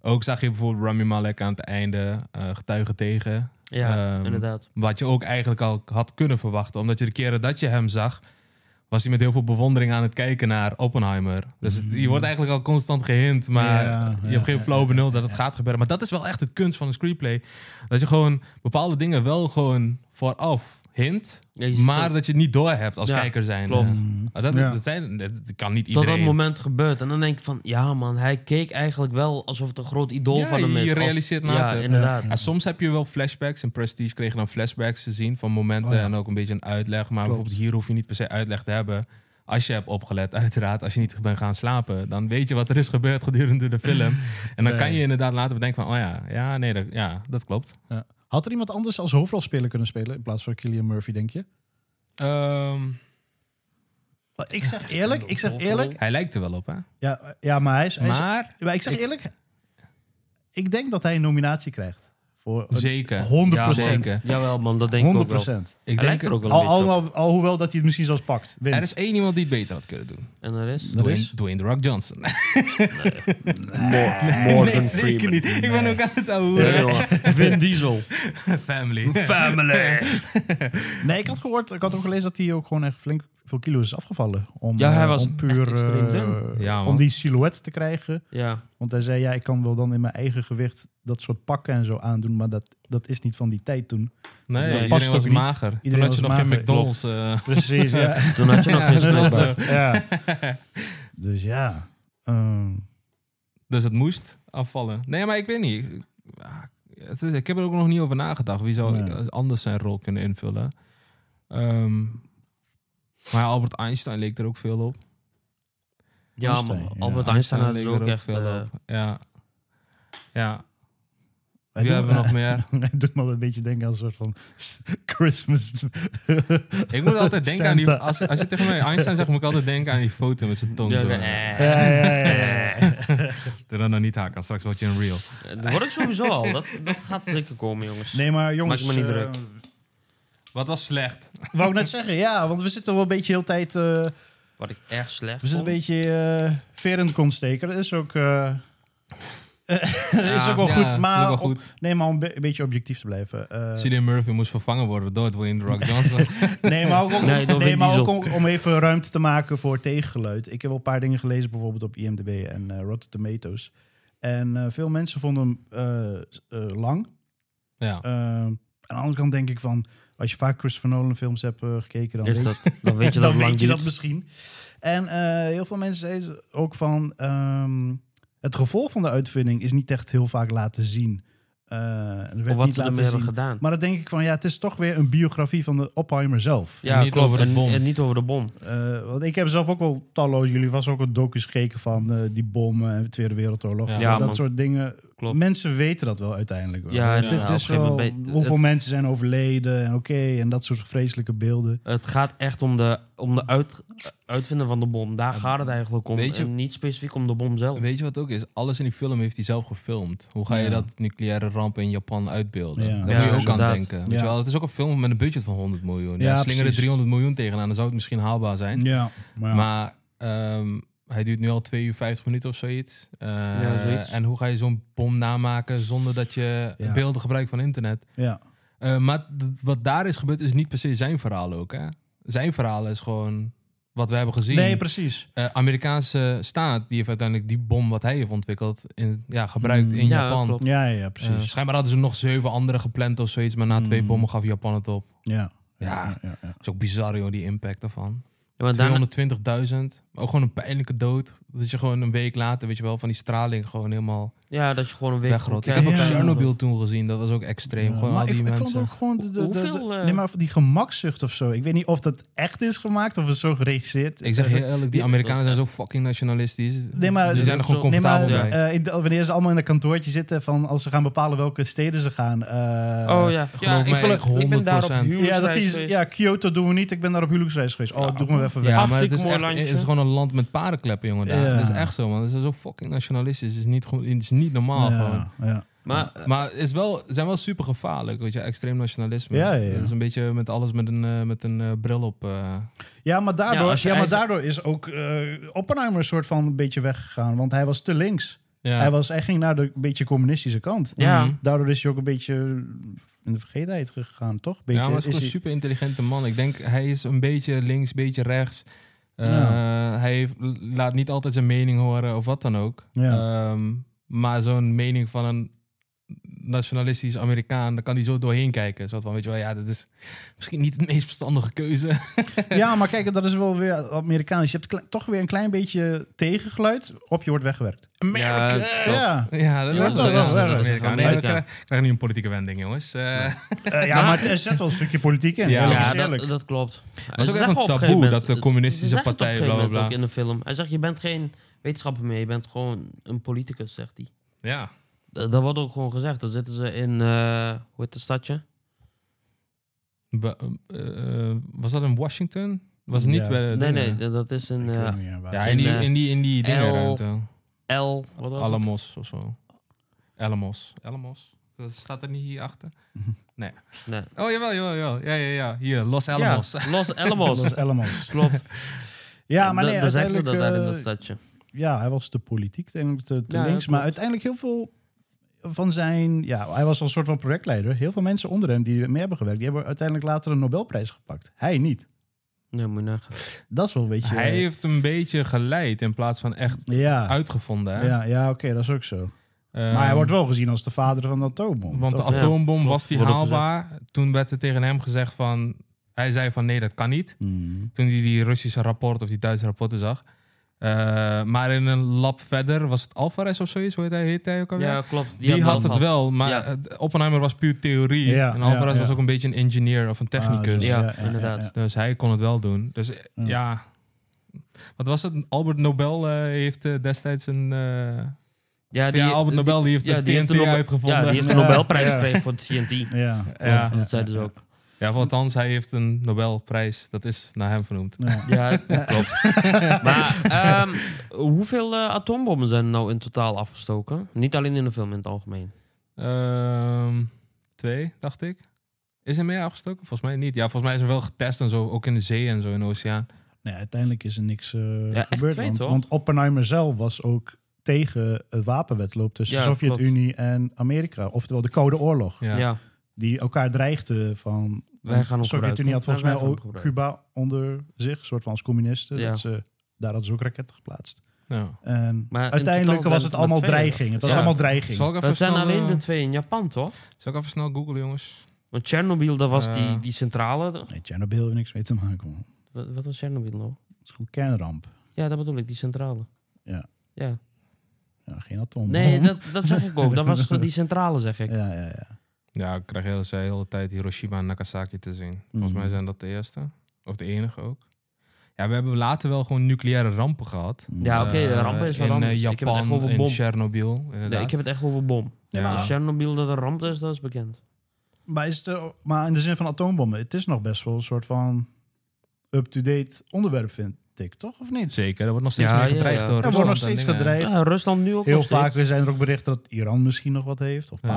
Speaker 6: Ook zag je bijvoorbeeld Rami Malek aan het einde eh, getuigen tegen.
Speaker 7: Ja,
Speaker 6: Ehm,
Speaker 7: inderdaad.
Speaker 6: Wat je ook eigenlijk al had kunnen verwachten. Omdat je de keren dat je hem zag, was hij met heel veel bewondering aan het kijken naar Oppenheimer. Dus het- je wordt eigenlijk al constant gehint, maar
Speaker 8: Ja, ja,
Speaker 6: je hebt geen
Speaker 8: ja,
Speaker 6: flow benul dat het gaat gebeuren. Maar dat is wel echt het kunst van een screenplay. Dat je gewoon bepaalde dingen wel gewoon vooraf hint,
Speaker 7: Ja, je ziet
Speaker 6: maar
Speaker 7: het.
Speaker 6: dat je het niet door hebt als
Speaker 7: Ja,
Speaker 6: kijker zijn.
Speaker 7: klopt.
Speaker 6: Ah, Dat,
Speaker 8: Ja.
Speaker 6: dat, zijn, dat dat kan niet
Speaker 7: Tot
Speaker 6: iedereen.
Speaker 7: dat moment gebeurt. En dan denk ik van, ja man, hij keek eigenlijk wel alsof het een groot idool
Speaker 6: Ja,
Speaker 7: van hem
Speaker 6: je
Speaker 7: is. Als-
Speaker 6: realiseert
Speaker 7: Ja,
Speaker 6: later.
Speaker 7: inderdaad.
Speaker 6: Ja, soms heb je wel flashbacks. En Prestige kregen dan flashbacks te zien van momenten
Speaker 8: Oh ja.
Speaker 6: en ook een beetje een uitleg. Maar bijvoorbeeld hier hoef je niet per se uitleg te hebben. Als je hebt opgelet, uiteraard, als je niet bent gaan slapen, dan weet je wat er is gebeurd gedurende de film. En dan kan je inderdaad later bedenken van, oh ja, ja, nee, dat, ja, dat klopt.
Speaker 8: Ja. Had er iemand anders als hoofdrolspeler kunnen spelen in plaats van Killian Murphy, denk je?
Speaker 6: Ehm,
Speaker 8: Maar Ik zeg eerlijk, ik zeg eerlijk.
Speaker 6: hij lijkt er wel op, hè?
Speaker 8: Ja, ja maar hij is... hij is-
Speaker 6: Maar,
Speaker 8: maar ik zeg
Speaker 6: ik-
Speaker 8: eerlijk, ik denk dat hij een nominatie krijgt. Voor een-
Speaker 6: zeker.
Speaker 8: 100%.
Speaker 7: Ja, zeker. Jawel man, dat denk ik ook
Speaker 8: 100
Speaker 7: wel. Hij
Speaker 8: procent.
Speaker 6: Ik
Speaker 7: lijkt er ook wel een
Speaker 8: Al,
Speaker 7: beetje op.
Speaker 8: al, alhoewel dat hij het misschien zelfs pakt. Wint.
Speaker 6: Er is één iemand die het beter had kunnen doen.
Speaker 7: En er is...
Speaker 8: Dat
Speaker 6: Dwayne,
Speaker 8: is?
Speaker 6: Dwayne The Rock Johnson.
Speaker 7: Morgan
Speaker 6: nee, zeker niet. Ik ben ook aan het ouwe.
Speaker 7: Ja, jongen. Vin Diesel.
Speaker 6: Family.
Speaker 7: Family.
Speaker 8: Nee, ik had gehoord, ik had ook gelezen dat hij ook gewoon echt flink veel kilo's is afgevallen. Om,
Speaker 7: Ja, hij
Speaker 8: eh,
Speaker 7: was
Speaker 8: om puur
Speaker 7: echt extreem
Speaker 8: eh,
Speaker 7: dun.
Speaker 6: Ja, man.
Speaker 8: om die silhouet te krijgen.
Speaker 7: Ja,
Speaker 8: Want hij zei, ja, ik kan wel dan in mijn eigen gewicht dat soort pakken en zo aandoen, maar dat, dat is niet van die tijd toen.
Speaker 6: Nee,
Speaker 7: Dat
Speaker 6: iedereen
Speaker 8: past ook
Speaker 6: was
Speaker 8: niet.
Speaker 6: mager.
Speaker 8: Iedereen
Speaker 6: Toen had je
Speaker 8: was
Speaker 6: nog geen
Speaker 8: mager, klopt.
Speaker 6: McDonald's. eh,
Speaker 8: Precies, ja.
Speaker 7: toen had je nog geen strikbaar.
Speaker 8: ja. Dus ja. ehm,
Speaker 6: dus het moest afvallen. Nee, maar ik weet niet. Ik- ah, het is- ik heb er ook nog niet over nagedacht. Wie zou eh,
Speaker 8: Nee.
Speaker 6: anders zijn rol kunnen invullen? Ehm, maar ja, Albert Einstein leek er ook veel op.
Speaker 7: Ja
Speaker 8: Einstein,
Speaker 7: man,
Speaker 8: ja.
Speaker 7: Albert Einstein had
Speaker 6: leek
Speaker 7: er ook echt... eh,
Speaker 6: Ja. Ja, wie
Speaker 8: hij doet-
Speaker 6: hebben we nog meer?
Speaker 8: Hij doet me wel een beetje denken aan een soort van Christmas.
Speaker 6: Ik moet altijd denken aan die...
Speaker 8: Santa.
Speaker 6: Als, als je tegen mij Einstein zegt, moet ik altijd denken aan die foto met zijn tong.
Speaker 7: Ja,
Speaker 6: zo.
Speaker 7: eh.
Speaker 8: Ja, ja, ja, ja, ja.
Speaker 6: Doe dat nou niet haken, straks word je een reel.
Speaker 7: Dat word ik sowieso al. Dat, dat gaat zeker komen, jongens.
Speaker 8: Nee, maar jongens.
Speaker 7: Maak me niet
Speaker 8: eh,
Speaker 7: druk.
Speaker 6: Wat was slecht?
Speaker 8: Wou ik net zeggen, ja, want we zitten wel een beetje heel tijd. eh,
Speaker 7: Wat ik echt slecht
Speaker 8: we zitten Dus een
Speaker 7: vond.
Speaker 8: beetje eh ver in de kont steken. Dat is ook. eh, is ook wel
Speaker 6: Ja,
Speaker 8: goed,
Speaker 6: het is
Speaker 8: maar
Speaker 6: ook wel
Speaker 8: op-
Speaker 6: goed.
Speaker 8: nee, maar om een be- een beetje objectief te blijven. eh,
Speaker 6: Cillian Murphy moest vervangen worden door Dwayne The Rock Johnson.
Speaker 8: nee, maar ook, om,
Speaker 7: Nee,
Speaker 8: nee,
Speaker 7: dan Vin
Speaker 8: maar ook
Speaker 7: Diesel.
Speaker 8: om, om even ruimte te maken voor tegengeluid. Ik heb wel een paar dingen gelezen, bijvoorbeeld op IMDb en eh Rotten Tomatoes. En eh, veel mensen vonden hem eh, s- eh, lang.
Speaker 6: ja.
Speaker 8: Eh, aan de andere kant denk ik van, als je vaak Christopher Nolan films hebt eh, gekeken, dan
Speaker 7: Is
Speaker 8: weet
Speaker 7: dat, dan weet je dat
Speaker 8: dan
Speaker 7: lang
Speaker 8: weet je
Speaker 7: duurt.
Speaker 8: dat misschien. En eh, heel veel mensen zeiden ook van... ehm, het gevolg van de uitvinding is niet echt heel vaak laten zien. Eh, er werd
Speaker 7: Of wat
Speaker 8: niet
Speaker 7: ze ermee
Speaker 8: laten
Speaker 7: hebben
Speaker 8: zien.
Speaker 7: gedaan.
Speaker 8: Maar dan denk ik van, ja, het is toch weer een biografie van de Oppenheimer zelf.
Speaker 7: Ja,
Speaker 6: Niet
Speaker 7: klopt.
Speaker 6: over de
Speaker 7: En-
Speaker 6: bom.
Speaker 7: En, niet over de bom.
Speaker 8: Eh, want ik heb zelf ook wel talloze, jullie was ook een docus gekeken van eh, die bommen en de Tweede Wereldoorlog.
Speaker 6: Ja.
Speaker 8: Dat-
Speaker 7: Ja,
Speaker 8: dat
Speaker 7: man.
Speaker 8: soort dingen.
Speaker 7: Klopt.
Speaker 8: Mensen weten dat wel uiteindelijk. Wel.
Speaker 7: Ja, ja,
Speaker 8: het, het
Speaker 7: op een
Speaker 8: is
Speaker 7: gegeven
Speaker 8: wel
Speaker 7: moment weet-
Speaker 8: hoeveel
Speaker 7: het-
Speaker 8: mensen zijn overleden en oké, en dat soort vreselijke beelden.
Speaker 7: Het gaat echt om de, om de uit, uitvinden van de bom. Daar gaat het eigenlijk om.
Speaker 6: Weet je-
Speaker 7: en niet specifiek om de bom zelf.
Speaker 6: Weet je wat ook is? Alles in die film heeft hij zelf gefilmd. Hoe ga je
Speaker 8: Ja.
Speaker 6: dat nucleaire ramp in Japan uitbeelden?
Speaker 8: Ja.
Speaker 6: Daar
Speaker 7: Ja,
Speaker 6: moet je ook
Speaker 7: inderdaad.
Speaker 6: aan denken. Weet je
Speaker 8: Ja.
Speaker 6: wel? Het is ook een film met een budget van 100 miljoen. Ja,
Speaker 8: Ja,
Speaker 6: slinger er
Speaker 8: precies.
Speaker 6: 300 miljoen tegenaan, dan zou het misschien haalbaar zijn.
Speaker 8: Ja, maar,
Speaker 6: Maar ehm, hij duurt nu al 2 uur 50 minuten of zoiets. Eh,
Speaker 7: Ja, zoiets.
Speaker 6: En hoe ga je zo'n bom namaken zonder dat je
Speaker 8: Ja.
Speaker 6: beelden gebruikt van internet?
Speaker 8: ja.
Speaker 6: Eh, maar d- wat daar is gebeurd is niet per se zijn verhaal ook. Hè? Zijn verhaal is gewoon wat we hebben gezien.
Speaker 8: Nee, precies.
Speaker 6: Eh, Amerikaanse staat die heeft uiteindelijk die bom wat hij heeft ontwikkeld in, ja, gebruikt
Speaker 8: Mm.
Speaker 6: in
Speaker 7: Ja,
Speaker 6: Japan.
Speaker 7: klopt.
Speaker 8: Ja, ja, ja,
Speaker 6: Eh,
Speaker 8: precies.
Speaker 6: schijnbaar hadden ze nog zeven andere gepland of zoiets, maar na twee
Speaker 8: Mm.
Speaker 6: bommen gaf Japan het op.
Speaker 8: ja.
Speaker 6: Ja.
Speaker 8: ja, ja.
Speaker 6: Dat is ook bizar, joh, die impact daarvan.
Speaker 7: Ja, maar daarna,
Speaker 6: 220.000. Ook gewoon een pijnlijke dood. Dat je gewoon een week later, weet je wel, van die straling gewoon helemaal
Speaker 7: ja, dat je gewoon een week...
Speaker 6: wegrot. Ik
Speaker 7: kijkt.
Speaker 6: heb ook
Speaker 8: Ja.
Speaker 6: Chernobyl toen gezien. Dat was ook extreem.
Speaker 8: Ja,
Speaker 6: gewoon
Speaker 8: maar
Speaker 6: al
Speaker 8: ik,
Speaker 6: die
Speaker 8: ik
Speaker 6: mensen.
Speaker 8: vond ook gewoon de, de, de-
Speaker 7: Hoeveel,
Speaker 8: de-
Speaker 7: eh,
Speaker 8: nee, maar die gemakzucht of zo. Ik weet niet of dat echt is gemaakt of het zo geregisseerd.
Speaker 6: Ik zeg
Speaker 8: Eh,
Speaker 6: heel eerlijk, die Amerikanen zijn zo fucking nationalistisch.
Speaker 8: Nee, maar-
Speaker 6: die zijn er gewoon
Speaker 7: Nee,
Speaker 6: comfortabel
Speaker 8: nee, maar,
Speaker 6: bij.
Speaker 8: eh, in de- wanneer ze allemaal in een kantoortje zitten van als ze gaan bepalen welke steden ze gaan. eh,
Speaker 7: Oh ja. ja
Speaker 6: geloof mij,
Speaker 7: ik, ben- ik ben daar op
Speaker 6: 100%.
Speaker 8: Ja, dat
Speaker 7: huwelijksreis
Speaker 8: is,
Speaker 7: geweest.
Speaker 8: ja, Kyoto doen we niet. Ik ben daar op huwelijksreis geweest. Oh, doen we even weg.
Speaker 6: Ja, maar het is,
Speaker 7: Hartstikke
Speaker 6: echt,
Speaker 7: mooi
Speaker 6: het is
Speaker 7: landje.
Speaker 6: gewoon een land met paardenkleppen, jongen. Daar.
Speaker 8: Ja.
Speaker 6: Dat is echt zo, man. Het is zo fucking nationalistisch. Het is niet, gewoon- het is niet normaal, gewoon.
Speaker 8: ja, ja.
Speaker 7: Maar eh,
Speaker 6: Maar het is wel, ze zijn wel super gevaarlijk, weet je. Extreem nationalisme.
Speaker 8: Ja, ja, ja.
Speaker 6: Dat is een beetje met alles met een, eh, met een eh, bril op. eh.
Speaker 8: Ja, maar daardoor,
Speaker 7: Ja,
Speaker 8: ja,
Speaker 7: als je
Speaker 8: maar
Speaker 7: eigen-
Speaker 8: daardoor is ook eh, Oppenheimer een soort van een beetje weggegaan. Want hij was te links.
Speaker 6: Ja.
Speaker 8: Hij, was, hij ging naar de beetje communistische kant.
Speaker 7: Ja.
Speaker 6: Mhm.
Speaker 8: Daardoor is hij ook een beetje in de vergetenheid gegaan, toch? Beetje,
Speaker 6: ja, maar hij is
Speaker 8: is
Speaker 6: gewoon een
Speaker 8: hij-
Speaker 6: super intelligente man. Ik denk, hij is een beetje links, een beetje rechts. Uh, Hij heeft- laat niet altijd zijn mening horen of wat dan ook.
Speaker 8: Ja.
Speaker 6: Ehm, maar zo'n mening van een nationalistisch Amerikaan, daar kan hij zo doorheen kijken. Zo van, weet je wel, ja, dat is misschien niet de meest verstandige keuze.
Speaker 8: Ja, maar kijk, dat is wel weer Amerikaans. Je hebt kle- toch weer een klein beetje tegengeluid. Op je wordt weggewerkt.
Speaker 7: America!
Speaker 6: Eh,
Speaker 8: Ja,
Speaker 6: Ja, dat
Speaker 8: Ja,
Speaker 6: is wel
Speaker 8: toch, dat
Speaker 6: ja,
Speaker 8: is
Speaker 6: dat is
Speaker 8: wel
Speaker 6: Amerika.
Speaker 7: zo.
Speaker 6: Nee, we
Speaker 7: Amerika.
Speaker 6: krijgen, krijgen nu een politieke wending, jongens. Eh,
Speaker 8: Eh, ja maar er zit wel een stukje politiek in.
Speaker 6: Ja.
Speaker 8: Ja,
Speaker 7: eh, Ja,
Speaker 8: is eerlijk.
Speaker 7: dat, dat klopt. Het
Speaker 6: ook echt een taboe, dat de communistische partij, bla, bla, bla.
Speaker 7: in de film. Hij zegt, je bent geen wetenschapper meer, je bent gewoon een politicus, zegt hij.
Speaker 6: ja.
Speaker 7: Dat, dat wordt ook gewoon gezegd. Dan zitten ze in, eh, hoe heet het stadje?
Speaker 6: Wa- eh, was dat in Washington? Was het niet
Speaker 8: Ja.
Speaker 6: bij de
Speaker 7: Nee,
Speaker 6: dingen?
Speaker 7: nee, dat is in
Speaker 8: Ik weet
Speaker 7: eh,
Speaker 8: niet meer waar.
Speaker 6: Ja, in die,
Speaker 7: In, eh,
Speaker 6: in die, in die
Speaker 7: El-
Speaker 6: dingenruimte.
Speaker 7: L, wat was het?
Speaker 6: Alamos of zo. Alamos. Alamos? Dat staat er niet hier achter? Nee.
Speaker 7: Nee.
Speaker 6: Oh, jawel, jawel, jawel. Ja, ja, ja. Hier, Los
Speaker 7: Ja,
Speaker 6: Alamos.
Speaker 7: Los
Speaker 8: Dat
Speaker 7: Alamos.
Speaker 8: is Elmos.
Speaker 7: klopt.
Speaker 8: Ja, maar
Speaker 7: Da-
Speaker 8: nee,
Speaker 7: dan zeggen ze
Speaker 8: uiteindelijk...
Speaker 7: dat daar in dat
Speaker 8: eh,
Speaker 7: stadje.
Speaker 8: ja, hij was de politiek, denk ik, te, te
Speaker 7: Ja,
Speaker 8: links.
Speaker 7: klopt.
Speaker 8: Maar uiteindelijk heel veel van zijn... Ja, hij was al een soort van projectleider. Heel veel mensen onder hem die mee hebben gewerkt... die hebben uiteindelijk later een Nobelprijs gepakt. Hij niet.
Speaker 7: Nee, moet je nagaan.
Speaker 8: Dat is wel een beetje... eh,
Speaker 6: Hij heeft een beetje geleid in plaats van echt
Speaker 8: ja,
Speaker 6: uitgevonden. Hè?
Speaker 8: ja, ja oké, dat is ook zo.
Speaker 6: Ehm,
Speaker 8: maar hij wordt wel gezien als de vader van de atoombom.
Speaker 6: Want de
Speaker 8: toch?
Speaker 7: Ja,
Speaker 6: atoombom
Speaker 7: klopt,
Speaker 6: was die
Speaker 7: wordt ook
Speaker 6: haalbaar. Toen werd er tegen hem gezegd van... Hij zei van nee, dat kan niet.
Speaker 8: Hmm.
Speaker 6: Toen hij die Russische rapport of die Duitse rapporten zag. Eh, maar in een lab verder was het Alvarez of zoiets. Hoe heet hij, heet hij ook alweer?
Speaker 7: Ja, klopt.
Speaker 6: Die,
Speaker 7: hebben
Speaker 6: had het
Speaker 7: gehad.
Speaker 6: wel, maar
Speaker 7: Ja.
Speaker 6: eh, Oppenheimer was puur theorie.
Speaker 8: Ja,
Speaker 6: en Alvarez
Speaker 8: ja, ja.
Speaker 6: was ook een beetje een engineer of een
Speaker 8: Ah,
Speaker 6: technicus.
Speaker 8: zo,
Speaker 7: Ja, inderdaad.
Speaker 6: Dus hij kon het wel doen. Dus eh, ja.
Speaker 8: Ja.
Speaker 6: Wat was het? Albert Nobel eh, heeft eh, destijds een... eh,
Speaker 7: Ja,
Speaker 6: ja, Albert
Speaker 7: die-
Speaker 6: Nobel die heeft
Speaker 7: ja,
Speaker 6: de
Speaker 7: die heeft
Speaker 6: TNT
Speaker 7: een Nobel-
Speaker 6: uitgevonden.
Speaker 7: Ja, die heeft een
Speaker 8: Ja.
Speaker 7: Nobelprijs
Speaker 8: Ja.
Speaker 7: gekregen voor TNT.
Speaker 8: Ja, ja,
Speaker 6: Ja.
Speaker 7: Dat zeiden ze ook.
Speaker 6: Ja, of althans, hij heeft een Nobelprijs. Dat is naar hem vernoemd.
Speaker 8: Ja.
Speaker 7: Ja, klopt. maar ehm, hoeveel eh, atoombommen zijn er nou in totaal afgestoken? Niet alleen in de film, in het algemeen.
Speaker 6: Ehm, twee, dacht ik. Is er meer afgestoken? Volgens mij niet. Ja, volgens mij is er wel getest en zo. Ook in de zee en zo in de oceaan.
Speaker 8: Nee, uiteindelijk is er niks eh,
Speaker 7: echt
Speaker 8: gebeurd.
Speaker 7: twee,
Speaker 8: want,
Speaker 7: toch?
Speaker 8: want Oppenheimer zelf was ook tegen het wapenwetloop tussen
Speaker 7: Ja,
Speaker 8: de Sovjet-Unie en Amerika. Oftewel de Koude Oorlog.
Speaker 7: Ja,
Speaker 6: Ja.
Speaker 8: Die elkaar dreigde van...
Speaker 7: Wij gaan
Speaker 8: want
Speaker 7: hem
Speaker 8: de Sovjet-Unie
Speaker 7: gebruiken.
Speaker 8: had volgens
Speaker 7: Wij
Speaker 8: mij
Speaker 7: gaan hem
Speaker 8: ook
Speaker 7: gebruiken.
Speaker 8: Cuba onder zich. Een soort van als communisten.
Speaker 7: Ja.
Speaker 8: Dat ze, daar hadden ze ook raketten geplaatst.
Speaker 6: Ja.
Speaker 8: En
Speaker 7: Maar in
Speaker 8: Ehm,
Speaker 7: totaal
Speaker 8: uiteindelijk was
Speaker 7: zijn
Speaker 8: het
Speaker 7: het
Speaker 8: allemaal
Speaker 7: maar twee.
Speaker 8: dreiging. Het was
Speaker 7: Ja.
Speaker 8: allemaal dreiging.
Speaker 6: Zal ik even
Speaker 7: Dat zijn
Speaker 6: snel,
Speaker 7: alleen
Speaker 6: eh,
Speaker 7: de twee in Japan, toch?
Speaker 6: Zal ik even snel googlen, jongens?
Speaker 7: Want Tsjernobyl, daar was die,
Speaker 6: Ja.
Speaker 7: die centrale...
Speaker 8: Nee, Chernobyl heeft niks mee te maken. man.
Speaker 7: Wat, wat was Tsjernobyl nou?
Speaker 8: Het is gewoon kernramp.
Speaker 7: Ja, dat bedoel ik, die centrale.
Speaker 8: Ja.
Speaker 7: ja.
Speaker 8: Ja, geen atoombom.
Speaker 7: Nee, dat, dat zeg ik ook. Dat was die centrale, zeg ik.
Speaker 8: Ja, ja, ja.
Speaker 6: Ja, ik krijg de hele, de hele tijd Hiroshima en Nagasaki te zien. Volgens
Speaker 8: Mhm.
Speaker 6: mij zijn dat de eerste. Of de enige ook. Ja, we hebben later wel gewoon nucleaire rampen gehad.
Speaker 7: Ja, oké, de
Speaker 6: Eh,
Speaker 7: rampen is wel
Speaker 6: In eh,
Speaker 7: anders. Ik heb het echt
Speaker 6: Japan,
Speaker 7: over
Speaker 6: in
Speaker 7: bom.
Speaker 6: Tsjernobyl. inderdaad.
Speaker 7: Nee, ik heb het echt over bom.
Speaker 8: Ja, maar-
Speaker 7: Dus Tsjernobyl dat een ramp is, dat is bekend.
Speaker 8: Maar, is het, eh, maar in de zin van atoombommen, het is nog best wel een soort van up-to-date onderwerp, vind ik, toch? Of niet?
Speaker 6: Zeker, er wordt nog steeds
Speaker 7: Ja,
Speaker 6: meer
Speaker 7: ja,
Speaker 6: gedreigd
Speaker 7: ja.
Speaker 6: door
Speaker 8: Er wordt
Speaker 6: Rusland
Speaker 8: nog
Speaker 6: en
Speaker 8: steeds
Speaker 6: dingen.
Speaker 8: gedreigd.
Speaker 7: Ja, Rusland nu ook
Speaker 8: Heel
Speaker 7: nog steeds.
Speaker 8: vaak zijn er ook berichten dat Iran misschien nog wat heeft, of
Speaker 6: Ja.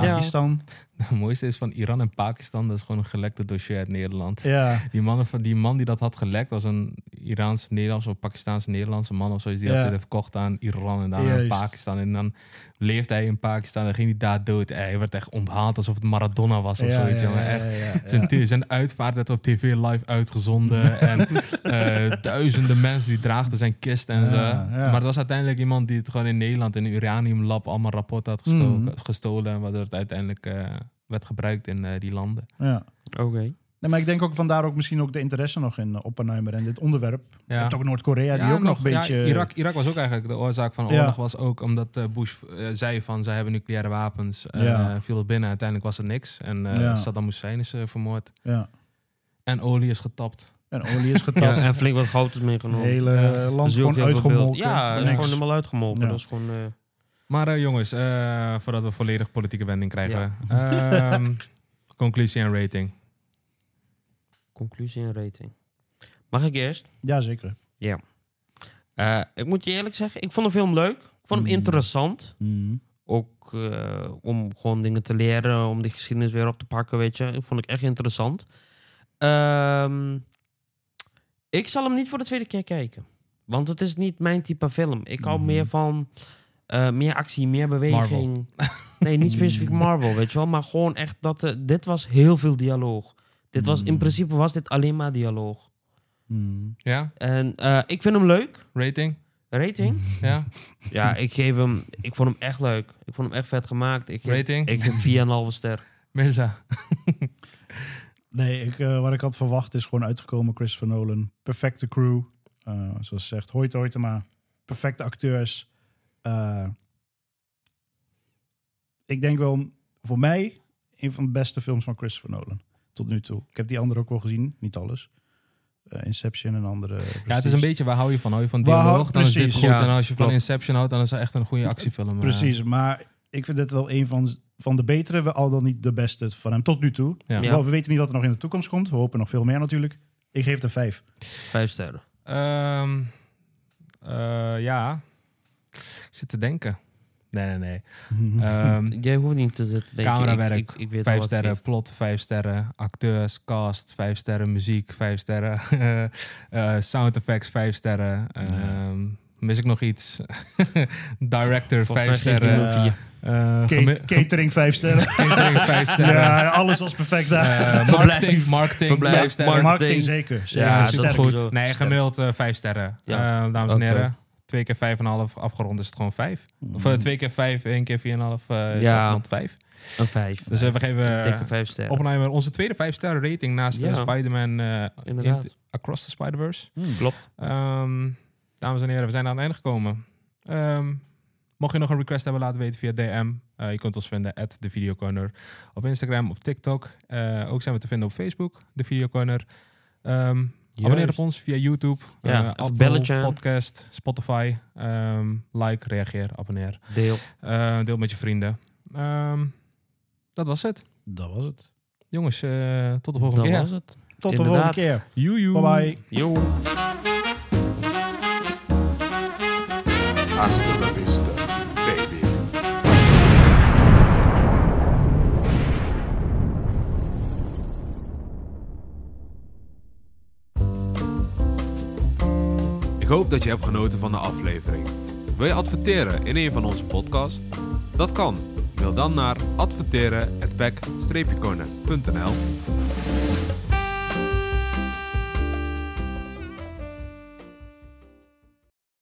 Speaker 8: Pakistan.
Speaker 6: Het mooiste is van Iran en Pakistan, dat is gewoon een gelekte dossier uit Nederland.
Speaker 8: Ja,
Speaker 6: Die, mannen van, die man die dat had gelekt was een Iraanse Nederlandse of Pakistaanse Nederlandse man of zoiets. Die
Speaker 8: Ja.
Speaker 6: had dit verkocht aan Iran en daarna aan
Speaker 8: Juist.
Speaker 6: Pakistan. En dan leefde hij in Pakistan en ging hij daar dood. Hij werd echt onthaald alsof het Maradona was of
Speaker 8: ja,
Speaker 6: zoiets.
Speaker 8: ja,
Speaker 6: jongen.
Speaker 8: ja,
Speaker 6: Echt.
Speaker 8: ja, ja, ja.
Speaker 6: Zijn, zijn uitvaart werd op tv live uitgezonden. en eh, duizenden mensen die draagden zijn kist en
Speaker 8: Ja,
Speaker 6: zo.
Speaker 8: ja.
Speaker 6: Maar het was uiteindelijk iemand die het gewoon in Nederland in een uraniumlab allemaal rapport had gestoken,
Speaker 8: Mhm.
Speaker 6: gestolen. Waardoor het uiteindelijk eh, werd gebruikt in eh, die landen.
Speaker 8: Ja.
Speaker 7: Oké.
Speaker 8: Nee, maar ik denk ook vandaar ook misschien ook de interesse nog in eh, Oppenheimer en dit onderwerp.
Speaker 6: Ja.
Speaker 8: En toch Noord-Korea, die
Speaker 6: Ja,
Speaker 8: ook nog een beetje...
Speaker 6: ja, Irak, Irak was ook eigenlijk de oorzaak van de
Speaker 8: Ja.
Speaker 6: oorlog. Was ook omdat eh, Bush eh, zei van zij hebben nucleaire wapens. en
Speaker 8: Ja.
Speaker 6: eh, viel het binnen, uiteindelijk was het niks. En eh,
Speaker 8: Ja.
Speaker 6: Saddam Hussein is eh, vermoord.
Speaker 8: Ja.
Speaker 6: En olie is getapt.
Speaker 8: En olie is getapt.
Speaker 7: Ja, en flink wat goud is meegenomen.
Speaker 8: Het hele eh, land
Speaker 7: Dus heel
Speaker 8: gewoon
Speaker 7: veel beeld.
Speaker 8: uitgemolken.
Speaker 7: Ja,
Speaker 8: voor
Speaker 7: is
Speaker 8: niks.
Speaker 7: gewoon helemaal uitgemolken.
Speaker 8: Ja.
Speaker 7: Dat is gewoon... eh,
Speaker 6: Maar eh, jongens, eh, voordat we volledig politieke wending krijgen. ehm, conclusie en rating.
Speaker 7: Conclusie en rating. Mag ik eerst?
Speaker 8: Ja, zeker.
Speaker 7: Eh, ik moet je eerlijk zeggen, ik vond de film leuk. Ik vond hem
Speaker 8: Mm.
Speaker 7: interessant.
Speaker 8: Mm.
Speaker 7: Ook eh, om gewoon dingen te leren, om die geschiedenis weer op te pakken, weet je. Ik vond ik echt interessant. Ehm, ik zal hem niet voor de tweede keer kijken. Want het is niet mijn type film. Ik hou
Speaker 8: Mhm.
Speaker 7: meer van eh, meer actie, meer beweging. Nee, niet specifiek Marvel, weet je wel. Maar gewoon echt dat... eh, dit was heel veel dialoog. Dit was, in principe was dit alleen maar dialoog. Mm.
Speaker 8: Hmm.
Speaker 6: Ja,
Speaker 7: En eh, ik vind hem leuk.
Speaker 6: rating.
Speaker 7: Rating?
Speaker 6: Ja,
Speaker 7: Ja,
Speaker 6: Hm.
Speaker 7: ik geef hem... Ik vond hem echt leuk. Ik vond hem echt vet gemaakt. Ik geef,
Speaker 6: Rating?
Speaker 7: Ik geef 4,5 ster.
Speaker 6: Mirza.
Speaker 8: Nee, ik, eh, wat ik had verwacht is gewoon uitgekomen. Christopher Nolan, perfecte crew. Eh, zoals ze zegt, hoi Hoytema, perfecte acteurs. Eh, ik denk wel, voor mij, een van de beste films van Christopher Nolan. Tot nu toe. Ik heb die andere ook wel gezien, niet alles. Eh, Inception en andere.
Speaker 6: Ja, het is een beetje waar hou je van? Hou je van
Speaker 8: Waar hou-
Speaker 6: dialoog? Dan is dit
Speaker 8: precies,
Speaker 6: goed.
Speaker 7: ja,
Speaker 6: en als je van
Speaker 7: klopt.
Speaker 6: Inception houdt, dan is het echt een goede actiefilm. eh.
Speaker 8: Precies, maar ik vind dit wel een van, van de betere, al dan niet de beste van hem tot nu toe.
Speaker 6: Ja.
Speaker 7: Ja.
Speaker 8: Wel, we weten niet wat er nog in de toekomst komt. We hopen nog veel meer natuurlijk. Ik geef het een vijf.
Speaker 7: 5 sterren.
Speaker 6: Ehm, eh, ja, ik zit te denken. Nee, nee, nee. Ehm,
Speaker 7: Jij hoeft niet te zitten denken.
Speaker 6: Camerawerk,
Speaker 7: Ik, ik, ik weet wat
Speaker 6: vijf
Speaker 7: ik
Speaker 6: sterren,
Speaker 7: geef.
Speaker 6: plot, vijf sterren, acteurs, cast, vijf sterren, muziek, vijf sterren, eh, sound effects, vijf sterren. Ehm, Mis ik nog iets? Director,
Speaker 7: Volgens
Speaker 6: vijf
Speaker 7: mij geeft hij
Speaker 6: sterren.
Speaker 7: hem een vier.
Speaker 6: Eh,
Speaker 8: Ca-
Speaker 6: gemi-
Speaker 8: catering vijf sterren.
Speaker 6: catering, vijf sterren.
Speaker 8: ja, alles was perfect daar.
Speaker 6: Eh, marketing,
Speaker 7: Verblijf.
Speaker 6: marketing,
Speaker 7: Verblijf,
Speaker 6: vijf sterren.
Speaker 7: marketing.
Speaker 8: marketing zeker. zeker.
Speaker 7: Ja,
Speaker 6: Ja,
Speaker 7: dat is
Speaker 8: Sterk.
Speaker 7: goed.
Speaker 6: Nee, gemiddeld eh, vijf sterren.
Speaker 7: Ja.
Speaker 6: Eh, dames en
Speaker 7: Oké.
Speaker 6: heren, twee keer vijf en een half afgerond is het gewoon vijf. Of eh, twee keer vijf, één keer vier en een half eh,
Speaker 7: Mm.
Speaker 6: is
Speaker 7: Ja.
Speaker 6: het rond vijf.
Speaker 7: Een 5.
Speaker 6: Dus eh, we geven eh,
Speaker 7: dikke 5 sterren.
Speaker 6: Oppenheimer onze tweede vijf sterren rating naast eh,
Speaker 7: Ja.
Speaker 6: Spider-Man eh,
Speaker 7: Inderdaad.
Speaker 6: in- Across the Spider-Verse.
Speaker 7: Klopt.
Speaker 6: Ehm, dames en heren, we zijn aan het einde gekomen. Ehm, mocht je nog een request hebben, laten weten via DM. Eh, je kunt ons vinden at The Video Corner. Op Instagram, op TikTok. Eh, ook zijn we te vinden op Facebook, The Video Corner. Ehm, abonneer op ons via YouTube,
Speaker 7: Ja,
Speaker 6: eh,
Speaker 7: even
Speaker 6: Apple
Speaker 7: belletje.
Speaker 6: Podcast, Spotify. Ehm, like, reageer, abonneer.
Speaker 7: Deel.
Speaker 6: Eh, deel met je vrienden. Ehm, dat was het.
Speaker 8: Dat was het.
Speaker 6: Jongens, eh, tot de volgende
Speaker 7: Dat
Speaker 6: keer.
Speaker 7: was het.
Speaker 8: Tot de
Speaker 7: Inderdaad.
Speaker 8: volgende keer.
Speaker 6: Joe, joe.
Speaker 8: Bye bye.
Speaker 7: Yo.
Speaker 4: Hasta la vista, baby.
Speaker 5: Ik hoop dat je hebt genoten van de aflevering. Wil je adverteren in een van onze podcasts? Dat kan. Mail dan naar adverteren@back-corner.nl